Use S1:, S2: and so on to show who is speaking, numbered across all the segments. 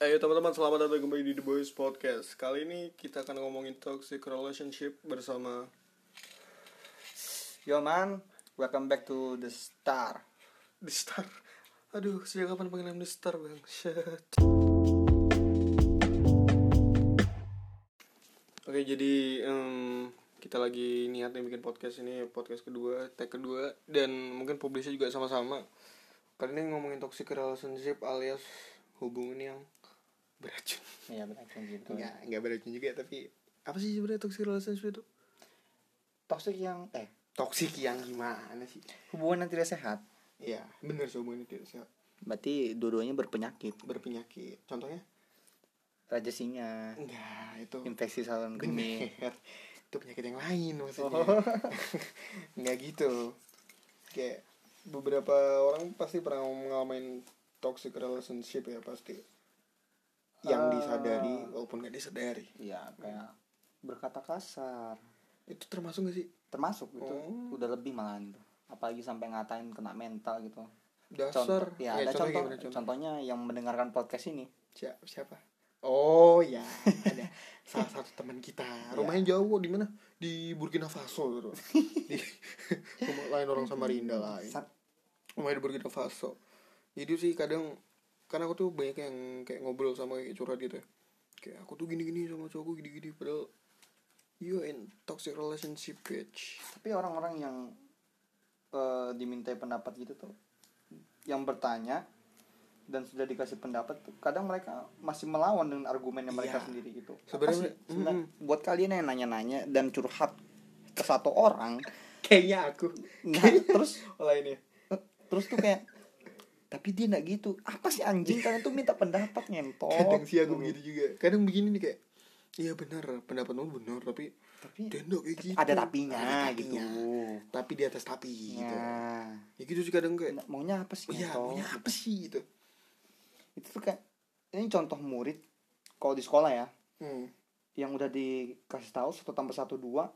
S1: Ayo teman-teman selamat datang kembali di The Boys Podcast Kali ini kita akan ngomongin toxic relationship bersama
S2: Yo man, welcome back to the star.
S1: The Star Aduh sejak kapan panggilan The Star bang Shit. Oke jadi em, kita lagi niatnya bikin podcast ini podcast kedua tag kedua dan mungkin publisnya juga sama-sama Kali ini ngomongin toxic relationship alias hubungan yang beracun
S2: Iya beracun gitu.
S1: Enggak, enggak beracun juga tapi apa sih sebenarnya toxic relationship itu?
S2: Toxic yang eh
S1: Toxic yang gimana sih?
S2: hubungan yang tidak sehat.
S1: Iya, bener semuanya tidak sehat,
S2: Berarti dua-duanya berpenyakit.
S1: berpenyakit. Contohnya?
S2: Raja singa,
S1: Enggak, itu
S2: infeksi saluran kemih.
S1: bener. Oh. itu penyakit yang lain maksudnya. Enggak gitu. Kayak beberapa orang pasti pernah ngalamin toxic relationship ya pasti. Yang
S2: Ah.
S1: disadari walaupun gak disadari.
S2: Iya kayak berkata kasar.
S1: Itu termasuk gak sih?
S2: Termasuk gitu.
S1: Oh.
S2: Udah lebih malahan tuh. Apalagi sampai ngatain kena mental gitu.
S1: Dasar.
S2: ya,
S1: Eh,
S2: ada
S1: contoh
S2: contoh,
S1: gimana, contoh?
S2: contohnya yang mendengarkan podcast ini.
S1: siapa siapa oh ya ada salah satu teman kita rumahnya jauh kok, di mana di Burkina Faso gitu di rumah lain orang Samarinda lain
S2: Sat-
S1: rumahnya di Burkina Faso jadi sih kadang karena aku tuh banyak yang kayak ngobrol sama kayak curhat gitu ya. kayak aku tuh gini gini sama cowokku gini gini padahal you in toxic relationship bitch
S2: tapi orang-orang yang eh, dimintai pendapat gitu tuh yang bertanya dan sudah dikasih pendapat tuh kadang mereka masih melawan dengan argumen yang mereka
S1: Iya.
S2: sendiri gitu Apa
S1: Sebenarnya-
S2: sih? Sebenarnya,
S1: mm-mm.
S2: buat kalian yang nanya-nanya dan curhat ke satu orang
S1: kayaknya aku
S2: nah terus
S1: olah ini
S2: terus tuh kayak tapi dia nggak gitu apa sih anjing kalian tuh minta pendapat ngentot
S1: kadang sih aku
S2: Tuh.
S1: begitu juga kadang begini nih kayak iya benar pendapatmu benar tapi
S2: tapi
S1: dendok kayak gitu
S2: ada tapinya,
S1: Ada
S2: gitu
S1: tapinya. tapi di atas tapi gitu
S2: nah
S1: ya gitu sih kadang kayak
S2: maunya apa sih
S1: oh ya
S2: ngentot?
S1: maunya apa sih gitu
S2: itu tuh kayak ini contoh murid kalau di sekolah ya
S1: hmm.
S2: yang udah dikasih tahu satu tambah satu dua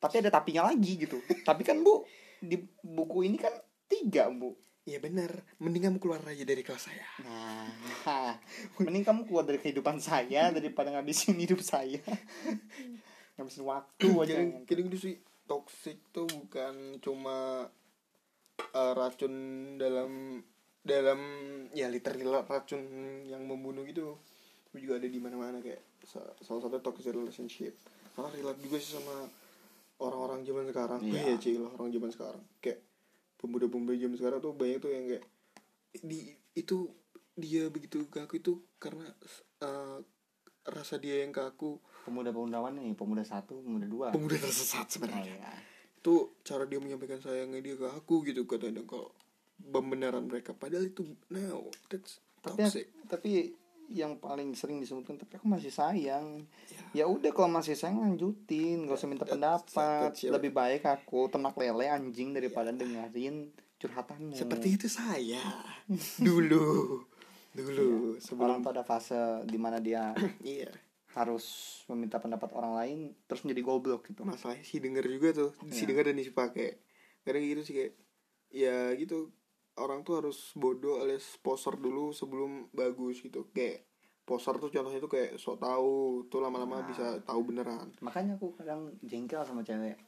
S2: tapi ada tapinya lagi gitu tapi kan bu di buku ini kan tiga bu
S1: ya benar mending kamu keluar aja dari kelas saya
S2: nah mending kamu keluar dari kehidupan saya daripada ngabisin hidup saya ngabisin waktu aja
S1: kadang kadang gitu sih toxic tuh bukan cuma eh, racun dalam dalam ya literal racun yang membunuh gitu tapi juga ada di mana-mana kayak sa- salah satu toxic relationship malah relate juga sih sama orang-orang zaman sekarang
S2: Iya.
S1: iya cil orang zaman sekarang kayak pemuda-pemuda zaman sekarang tuh banyak tuh yang kayak di itu dia begitu kaku itu karena eh, rasa dia yang kaku
S2: pemuda pemudawan nih pemuda satu pemuda dua
S1: pemuda tersesat
S2: Nah,
S1: sebenarnya
S2: ya.
S1: itu cara dia menyampaikan sayangnya dia ke aku gitu katanya kalau pembenaran mereka padahal itu no that's
S2: tapi
S1: toxic
S2: tapi yang paling sering disebutkan tapi aku masih sayang ya udah kalau masih sayang lanjutin gak usah minta
S1: That's-
S2: pendapat
S1: that's your-
S2: lebih baik aku ternak lele anjing daripada dengerin
S1: Ya.
S2: curhatanmu Ya.
S1: seperti itu saya
S2: Hmm.
S1: dulu dulu
S2: orang
S1: sebelum
S2: tuh ada fase dimana dia
S1: iya
S2: harus meminta pendapat orang lain terus menjadi goblok gitu
S1: masalahnya si denger juga tuh si
S2: Iya.
S1: denger dan si pakai kadang gitu sih kayak ya gitu orang tuh harus bodoh alias poser dulu sebelum bagus gitu kayak poser tuh contohnya tuh kayak sok tahu tuh lama-lama
S2: Nah.
S1: bisa tahu beneran
S2: makanya aku kadang jengkel sama cewek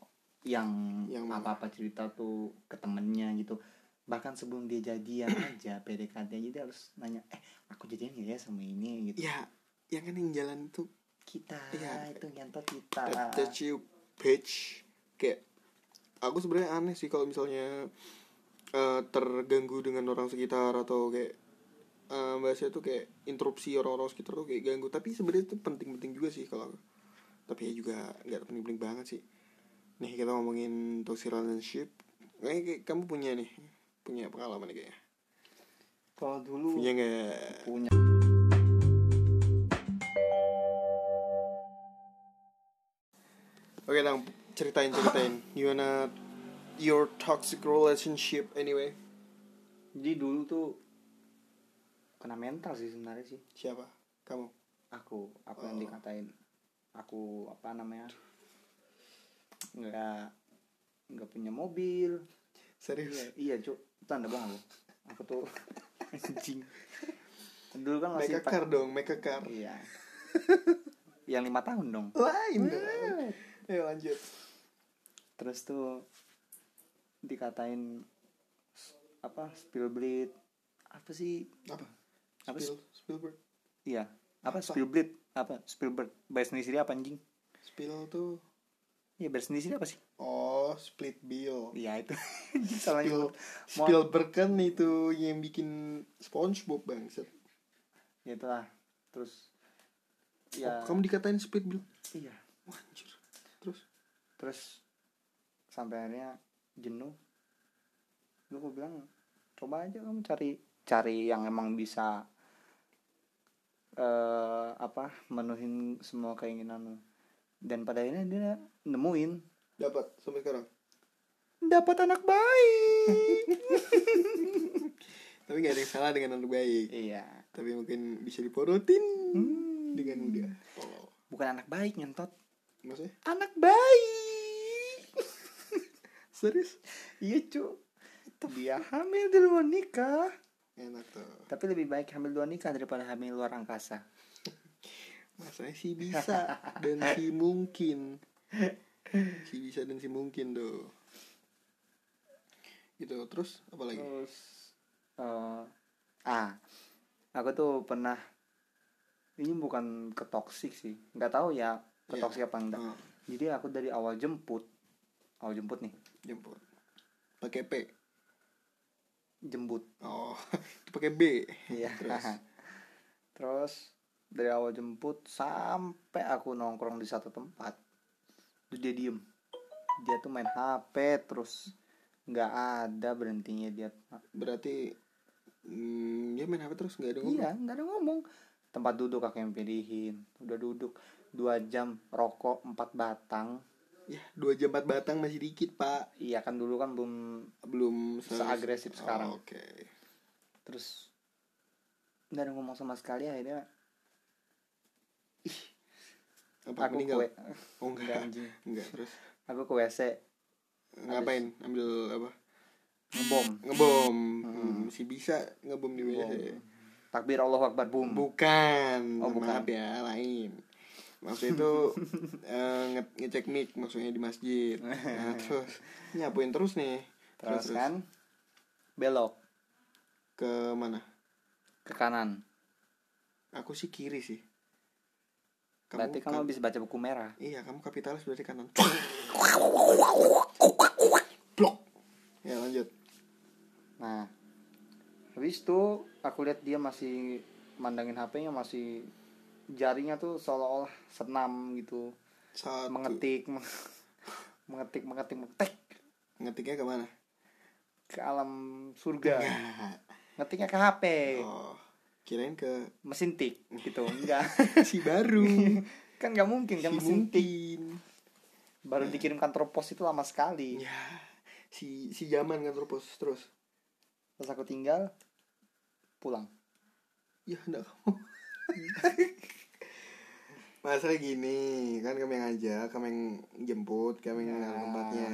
S2: yang,
S1: Yang mana?
S2: apa apa cerita tuh ke temennya gitu bahkan sebelum dia jadian aja PDKT aja dia harus nanya eh aku jadian gak ya sama ini gitu
S1: ya yang kan yang jalan tuh
S2: kita
S1: Iya.
S2: itu nyentot kita
S1: That- That's you bitch Kayak Aku sebenarnya aneh sih kalau misalnya eh, Terganggu dengan orang sekitar Atau kayak eh, Bahasanya tuh kayak interupsi orang-orang sekitar tuh kayak ganggu Tapi sebenarnya itu penting-penting juga sih kalau aku. Tapi ya juga nggak penting-penting banget sih Nih kita ngomongin toxic relationship Kayaknya kayak kamu punya nih Punya pengalaman nih kayaknya
S2: kalau dulu
S1: Punya Iya nggak
S2: punya
S1: Oke Tang, ceritain ceritain Gimana your toxic relationship anyway
S2: jadi dulu tuh kena mental sih sebenarnya sih
S1: Siapa? Kamu?
S2: aku aku yang
S1: Oh.
S2: dikatain aku apa namanya nggak nggak punya mobil
S1: Serius?
S2: iya iya cuk tanda banget aku tuh anjing dulu kan masih
S1: Make a car dong, make a car.
S2: iya yang lima tahun dong
S1: Lain dong. Ayo lanjut.
S2: terus tuh dikatain s- apa spillblit apa sih
S1: Apa?
S2: Apa
S1: Spiel, Spielberg.
S2: iya apa,
S1: Apa?
S2: spillblit apa Spielberg bayar sendiri apa anjing
S1: Spiel tuh
S2: iya bayar sendiri apa sih
S1: Oh, split bill.
S2: iya itu Anjing, salah
S1: Spiel,
S2: nyebut. Mau-
S1: Spielberg kan itu yang bikin SpongeBob bangset.
S2: ya itulah terus
S1: Oh,
S2: ya
S1: kamu dikatain split bill.
S2: iya
S1: Wah, anjir. Terus
S2: terus sampai akhirnya jenuh lu gue bilang coba aja kamu cari cari yang emang bisa eh apa menuhin semua keinginan lu dan pada akhirnya dia nemuin
S1: dapat sampai sekarang.
S2: dapat anak baik
S1: Tapi gak ada yang salah dengan anak baik.
S2: iya
S1: Tapi mungkin bisa diporotin
S2: Hmm.
S1: dengan mudah. Oh,
S2: bukan anak baik nyentot
S1: maksudnya?
S2: anak baik
S1: Serius?
S2: iya cu dia hamil di luar nikah
S1: Enak tuh.
S2: tapi lebih baik hamil luar nikah daripada hamil luar angkasa
S1: Masanya si bisa dan si mungkin. Si bisa dan si mungkin tuh. Gitu. Terus apa lagi?
S2: Terus eh, ah, aku tuh pernah ini bukan ke toxic sih, nggak tahu ya
S1: Iya.
S2: ke toxic apa enggak.
S1: Ah,
S2: Jadi aku dari awal jemput, awal jemput nih,
S1: jemput. Pakai P.
S2: jemput.
S1: Oh, itu pakai B.
S2: Iya.
S1: Terus.
S2: Terus dari awal jemput sampai aku nongkrong di satu tempat, tuh dia diem. Dia tuh main HP terus nggak ada berhentinya dia
S1: Berarti hmm, dia main HP terus nggak ada ngomong.
S2: Iya, nggak ada ngomong. Tempat duduk aku yang pilihin. Udah duduk dua jam rokok empat batang.
S1: Ya, dua jam empat batang masih dikit, Pak.
S2: Iya kan dulu kan belum
S1: Belum se- Oh,
S2: Seagresif sekarang.
S1: Oke.
S2: terus nggak ada ngomong sama sekali akhirnya
S1: Apa
S2: aku
S1: meninggal?
S2: ke
S1: Oh,
S2: W-
S1: enggak.
S2: nggak, anjing.
S1: Enggak, terus
S2: Aku ke WC
S1: ngapain? Ambil apa?
S2: ngebom.
S1: Ngebom. Hmm, si bisa ngebom di
S2: Ngebom.
S1: WC.
S2: Takbir Allahu Akbar boom.
S1: Bukan.
S2: Oh, bukan.
S1: Maaf ya, lain. Maksudnya itu eh, nge- ngecek mic maksudnya di masjid. Nah, terus nyapuin terus nih.
S2: terus, kan belok
S1: ke mana?
S2: ke kanan.
S1: Aku sih kiri sih.
S2: Berarti kamu
S1: kan-
S2: habis baca buku merah.
S1: Iya, kamu kapitalis berarti kanan. Blok. Ya, lanjut.
S2: Nah, habis itu aku lihat dia masih mandangin HP-nya masih jarinya tuh seolah-olah senam gitu,
S1: Satu.
S2: mengetik, meng- mengetik, mengetik, mengetik
S1: Ngetiknya ke mana?
S2: ke alam surga. Ngetiknya ke HP,
S1: Iya. Oh, kirain ke
S2: mesin tik gitu. Enggak.
S1: si baru.
S2: kan nggak mungkin
S1: si
S2: kan mesin tik
S1: Iya, mungkin.
S2: baru dikirim kantor pos itu lama sekali.
S1: Ya, si si zaman kan terus terus.
S2: Terus aku tinggal pulang.
S1: Ya, enggak kamu. Masalah gini, kan kamu yang ngajak, kamu yang jemput, kamu yang
S2: Nah,
S1: ngarang tempatnya.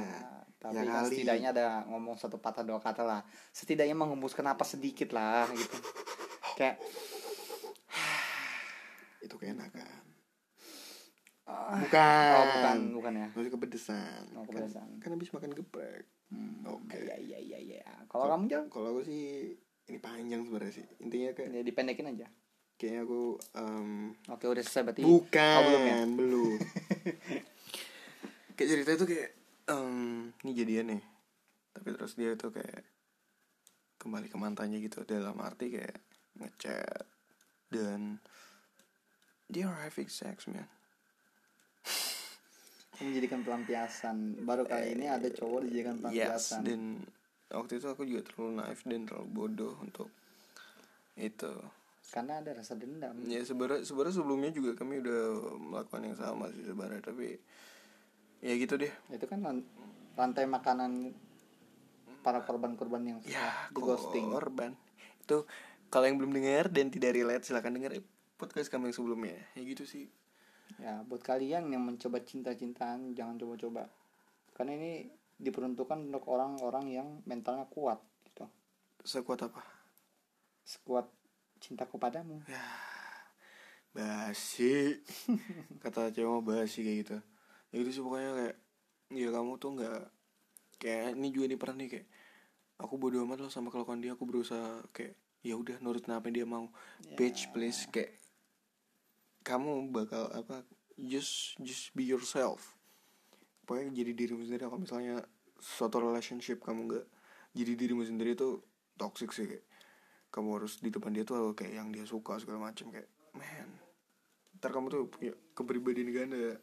S2: Tapi
S1: Iya, Ya
S2: kan
S1: kali.
S2: setidaknya ada ngomong satu patah dua kata lah. Setidaknya menghembuskan napas sedikit lah gitu. Kayak
S1: Itu keenakan.
S2: ah,
S1: Bukan.
S2: oh bukan bukan ya.
S1: Maksudnya kepedesan. Hmm,
S2: Oh,
S1: Kan-
S2: kepedesan.
S1: Kan, habis makan geprek. Oke.
S2: Iya iya iya iya. Kalau kamu jauh
S1: Kalau aku sih ini panjang sebenarnya sih. Intinya kayak
S2: ya dipendekin aja.
S1: kayaknya aku em,
S2: Oke udah selesai berarti.
S1: bukan
S2: oh, belum ya?
S1: belum. kayak cerita itu kayak em, ini jadian nih. Tapi terus dia itu kayak kembali ke mantannya gitu dalam arti kayak ngechat dan they are having sex man
S2: Menjadikan pelampiasan. Baru kali ini ada
S1: kan
S2: cowok dijadikan
S1: Eh, Yes,
S2: pelampiasan.
S1: dan waktu itu aku juga terlalu naif dan terlalu bodoh untuk itu.
S2: Karena ada rasa dendam.
S1: Ya sebenarnya sebenarnya sebelumnya juga kami udah melakukan yang sama sih sebenarnya tapi ya gitu deh.
S2: Itu kan lan- lantai makanan para korban-korban yang
S1: Ya,
S2: sudah di ghosting.
S1: korban. Itu kalau yang belum dengar dan tidak relate silakan dengar podcast kami yang sebelumnya. Ya gitu sih.
S2: Ya, buat kalian yang mencoba cinta-cintaan, jangan coba-coba. Karena ini diperuntukkan untuk orang-orang yang mentalnya kuat gitu.
S1: Sekuat apa?
S2: Sekuat cintaku padamu
S1: basi kata cewek mah basi kayak gitu ya itu sih pokoknya kayak ya kamu tuh nggak kayak ini juga nih pernah nih kayak aku bodo amat loh sama kelakuan dia aku berusaha kayak ya udah nurut apa yang dia mau bitch please kayak kamu bakal apa just just be yourself pokoknya jadi dirimu sendiri kalau misalnya suatu relationship kamu nggak jadi dirimu sendiri itu toxic sih kayak kamu harus di depan dia tuh harus kayak yang dia suka segala macem kayak man ntar kamu tuh punya kepribadian ganda ya."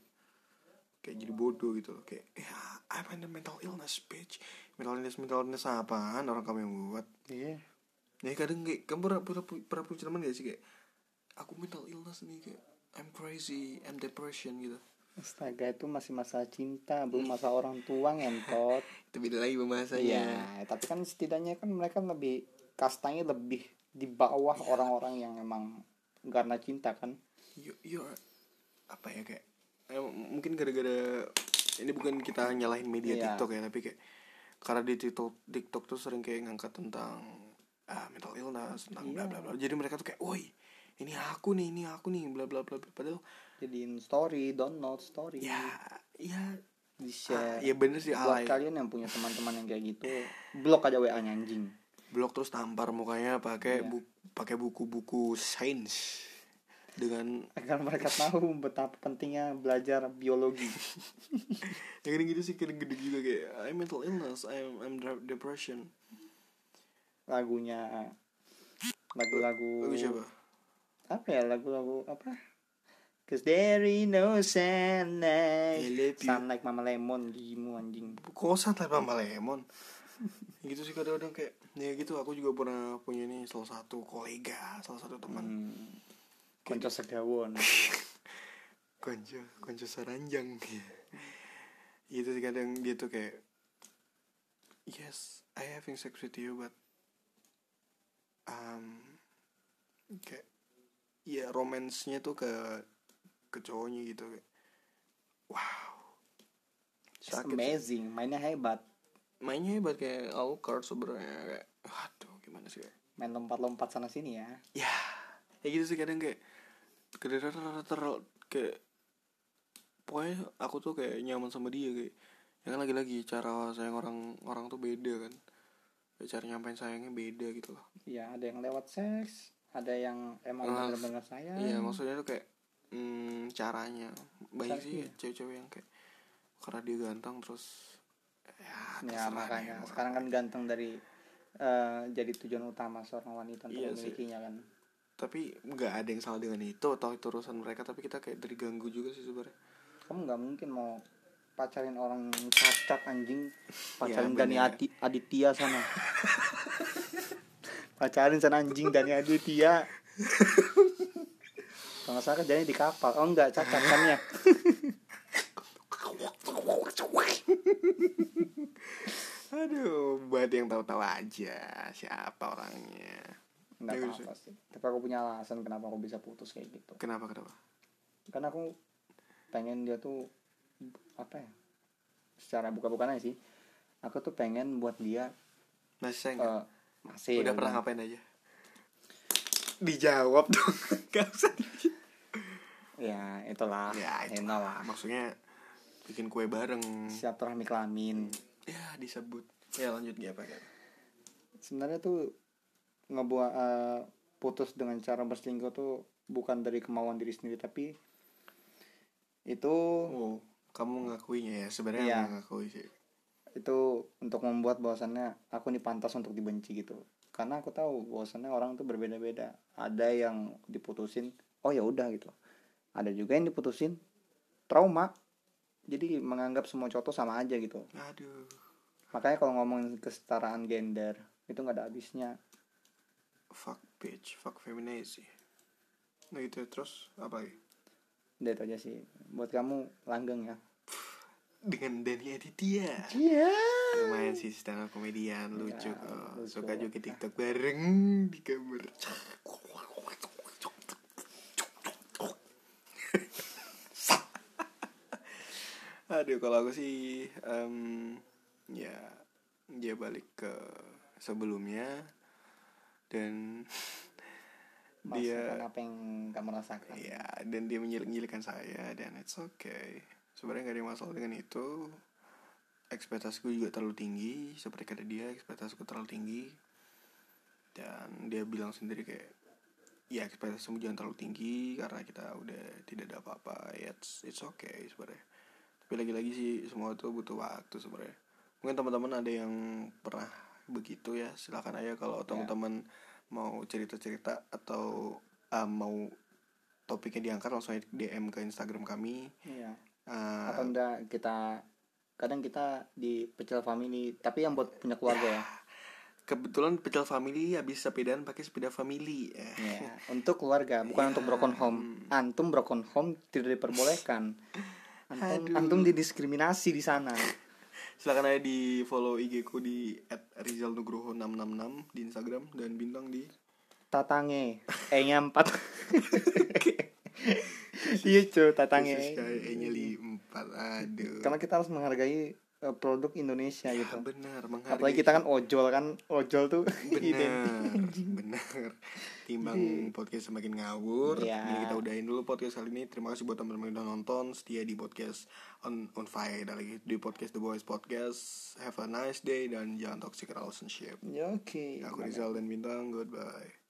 S1: kayak jadi bodoh gitu loh kayak ya I'm under mental illness bitch mental illness mental illness apaan orang kamu yang buat
S2: iya
S1: ya kadang kayak kamu pernah pernah, pernah punya teman gak sih kayak aku mental illness nih kayak I'm crazy I'm depression gitu
S2: astaga itu masih masalah cinta belum masalah orang tua ngentot
S1: itu beda lagi pembahasannya
S2: Iya, tapi kan setidaknya kan mereka lebih kastanya lebih di bawah orang-orang yang emang karena cinta kan.
S1: you, you're apa ya kayak eh, m- mungkin gara-gara ini bukan kita nyalahin media
S2: Iya.
S1: TikTok ya tapi kayak karena di TikTok TikTok tuh sering kayak ngangkat tentang ah, mental illness tentang
S2: Iya.
S1: bla bla bla jadi mereka tuh kayak woi ini aku nih ini aku nih bla bla bla bla. padahal
S2: Jadiin story, download story,
S1: ya ya
S2: di
S1: ah,
S2: share.
S1: ya bener sih
S2: Iya. Buat
S1: alay
S2: kalian yang punya teman-teman yang kayak gitu, blok aja WA-nya anjing.
S1: blok terus tampar mukanya pakai
S2: Iya.
S1: bu- pakai buku-buku sains dengan
S2: Agar mereka tahu betapa pentingnya belajar biologi.
S1: ya kadang gitu sih kadang gede juga kayak I'm mental illness I'm I'm de- depression
S2: Lagunya lagu-lagu
S1: lagu siapa
S2: apa ya lagu-lagu apa? Cause there is no sunlight,
S1: I love you.
S2: sunlight Mama Lemon gimu anjing.
S1: kosan tanpa sama lemon gitu sih kadang-kadang kayak ya gitu aku juga pernah punya ini salah satu kolega salah satu teman
S2: Hmm. Konco segawon.
S1: konco konco saranjang gitu sih kadang dia tuh kayak yes I having sex with you but um kayak ya romance-nya tuh ke ke cowoknya gitu kayak wow
S2: It's
S1: Sakit sih.
S2: amazing, mainnya hebat.
S1: mainnya hebat kayak Alucard sebenarnya kayak aduh gimana sih kayak
S2: Main lompat-lompat sana sini ya.
S1: ya ya gitu sih kadang kayak kadang ter kayak pokoknya aku tuh kayak nyaman sama dia kayak ya kan lagi-lagi cara sayang orang orang tuh beda kan Kayak cara nyampein sayangnya beda gitu loh
S2: Iya, ada yang lewat seks, ada yang emang
S1: Ah,
S2: benar-benar sayang.
S1: iya maksudnya tuh kayak hmm, caranya banyak
S2: Cara-
S1: sih
S2: iya.
S1: cewek-cewek yang kayak karena dia ganteng terus ya,
S2: Ya,
S1: terserah
S2: makanya
S1: deh,
S2: sekarang kan ganteng dari eh, jadi tujuan utama seorang wanita untuk
S1: Iya sih.
S2: memilikinya kan.
S1: tapi nggak ada yang salah dengan itu atau itu urusan mereka tapi kita kayak terganggu juga sih sebenarnya
S2: Kamu nggak mungkin mau pacarin orang cacat anjing, pacarin
S1: Iya,
S2: Dani
S1: bener.
S2: Ati- Aditya sana. pacarin sana anjing Dani Aditya. Kalau nggak salah kerjanya di kapal. Oh enggak, cacat kan ya.
S1: aduh buat yang tahu-tahu aja siapa orangnya
S2: Nggak
S1: Ya, gitu
S2: apa-apa sih. Tapi aku punya alasan kenapa aku bisa putus kayak gitu.
S1: kenapa kenapa
S2: Karena aku pengen dia tuh apa ya? Secara buka-bukaan aja sih. Aku tuh pengen buat dia
S1: masih sayang Iya nggak?
S2: eh, masih
S1: udah pernah ngapain aja dijawab dong gak usah di-
S2: Ya, itulah.
S1: ya itu
S2: Enak
S1: lah maksudnya bikin kue bareng
S2: silaturahmi kelamin.
S1: ya disebut ya lanjut gak apa
S2: Sebenarnya tuh ngebuat eh, putus dengan cara berselingkuh tuh bukan dari kemauan diri sendiri tapi itu
S1: oh kamu ngakuinya ya sebenarnya
S2: Iya.
S1: nggak ngakui sih
S2: itu untuk membuat bahwasannya aku nih pantas untuk dibenci gitu karena aku tahu bahwasannya orang tuh berbeda-beda ada yang diputusin oh ya udah gitu ada juga yang diputusin trauma jadi menganggap semua cowok tuh sama aja gitu
S1: aduh
S2: makanya kalau ngomongin kesetaraan gender itu nggak ada habisnya
S1: fuck bitch fuck feminism nah gitu ya, terus apa lagi
S2: udah itu aja sih buat kamu langgeng ya
S1: dengan Dani Aditya
S2: iya
S1: lumayan sih stand up komedian lucu
S2: Ya,
S1: kok
S2: lucu.
S1: suka juga tiktok bareng di kamar aduh kalau aku sih em, ya dia balik ke sebelumnya dan
S2: merasakan
S1: Dia-
S2: apa yang kamu rasakan
S1: ya dan dia menyilik-nyilikan saya dan it's okay sebenarnya nggak ada masalah dengan itu ekspektasiku juga terlalu tinggi seperti kata dia ekspektasiku terlalu tinggi dan dia bilang sendiri kayak ya ekspektasimu jangan terlalu tinggi karena kita udah tidak ada apa-apa ya it's, it's okay sebenarnya tapi lagi-lagi sih semua itu butuh waktu sebenarnya mungkin teman-teman ada yang pernah begitu ya silakan aja kalau teman-teman mau cerita-cerita atau eh, mau topiknya diangkat langsung aja DM ke Instagram kami
S2: Iya.
S1: Eh,
S2: atau enggak kita kadang kita di pecel family tapi yang buat punya keluarga ya
S1: kebetulan pecel family habis sepedaan pakai sepeda family Eh,
S2: Iya, untuk keluarga bukan untuk
S1: Iya.
S2: broken home antum broken home tidak diperbolehkan antum
S1: Aduh.
S2: antum didiskriminasi di sana
S1: silakan aja di follow IG ku di @rizalnugroho666 di Instagram dan bintang di
S2: tatange e nya empat iya cuy tatange
S1: E nya empat aduh
S2: karena kita harus menghargai eh, produk Indonesia
S1: ya,
S2: gitu
S1: benar menghargai
S2: apalagi kita kan ojol kan ojol tuh identik
S1: benar benar timbang podcast semakin ngawur
S2: Iya.
S1: jadi kita udahin dulu podcast kali ini terima kasih buat teman-teman yang udah nonton setia di podcast on on fire dan lagi di podcast the boys podcast have a nice day dan jangan toxic relationship
S2: Ya, oke
S1: aku Rizal dan Bintang goodbye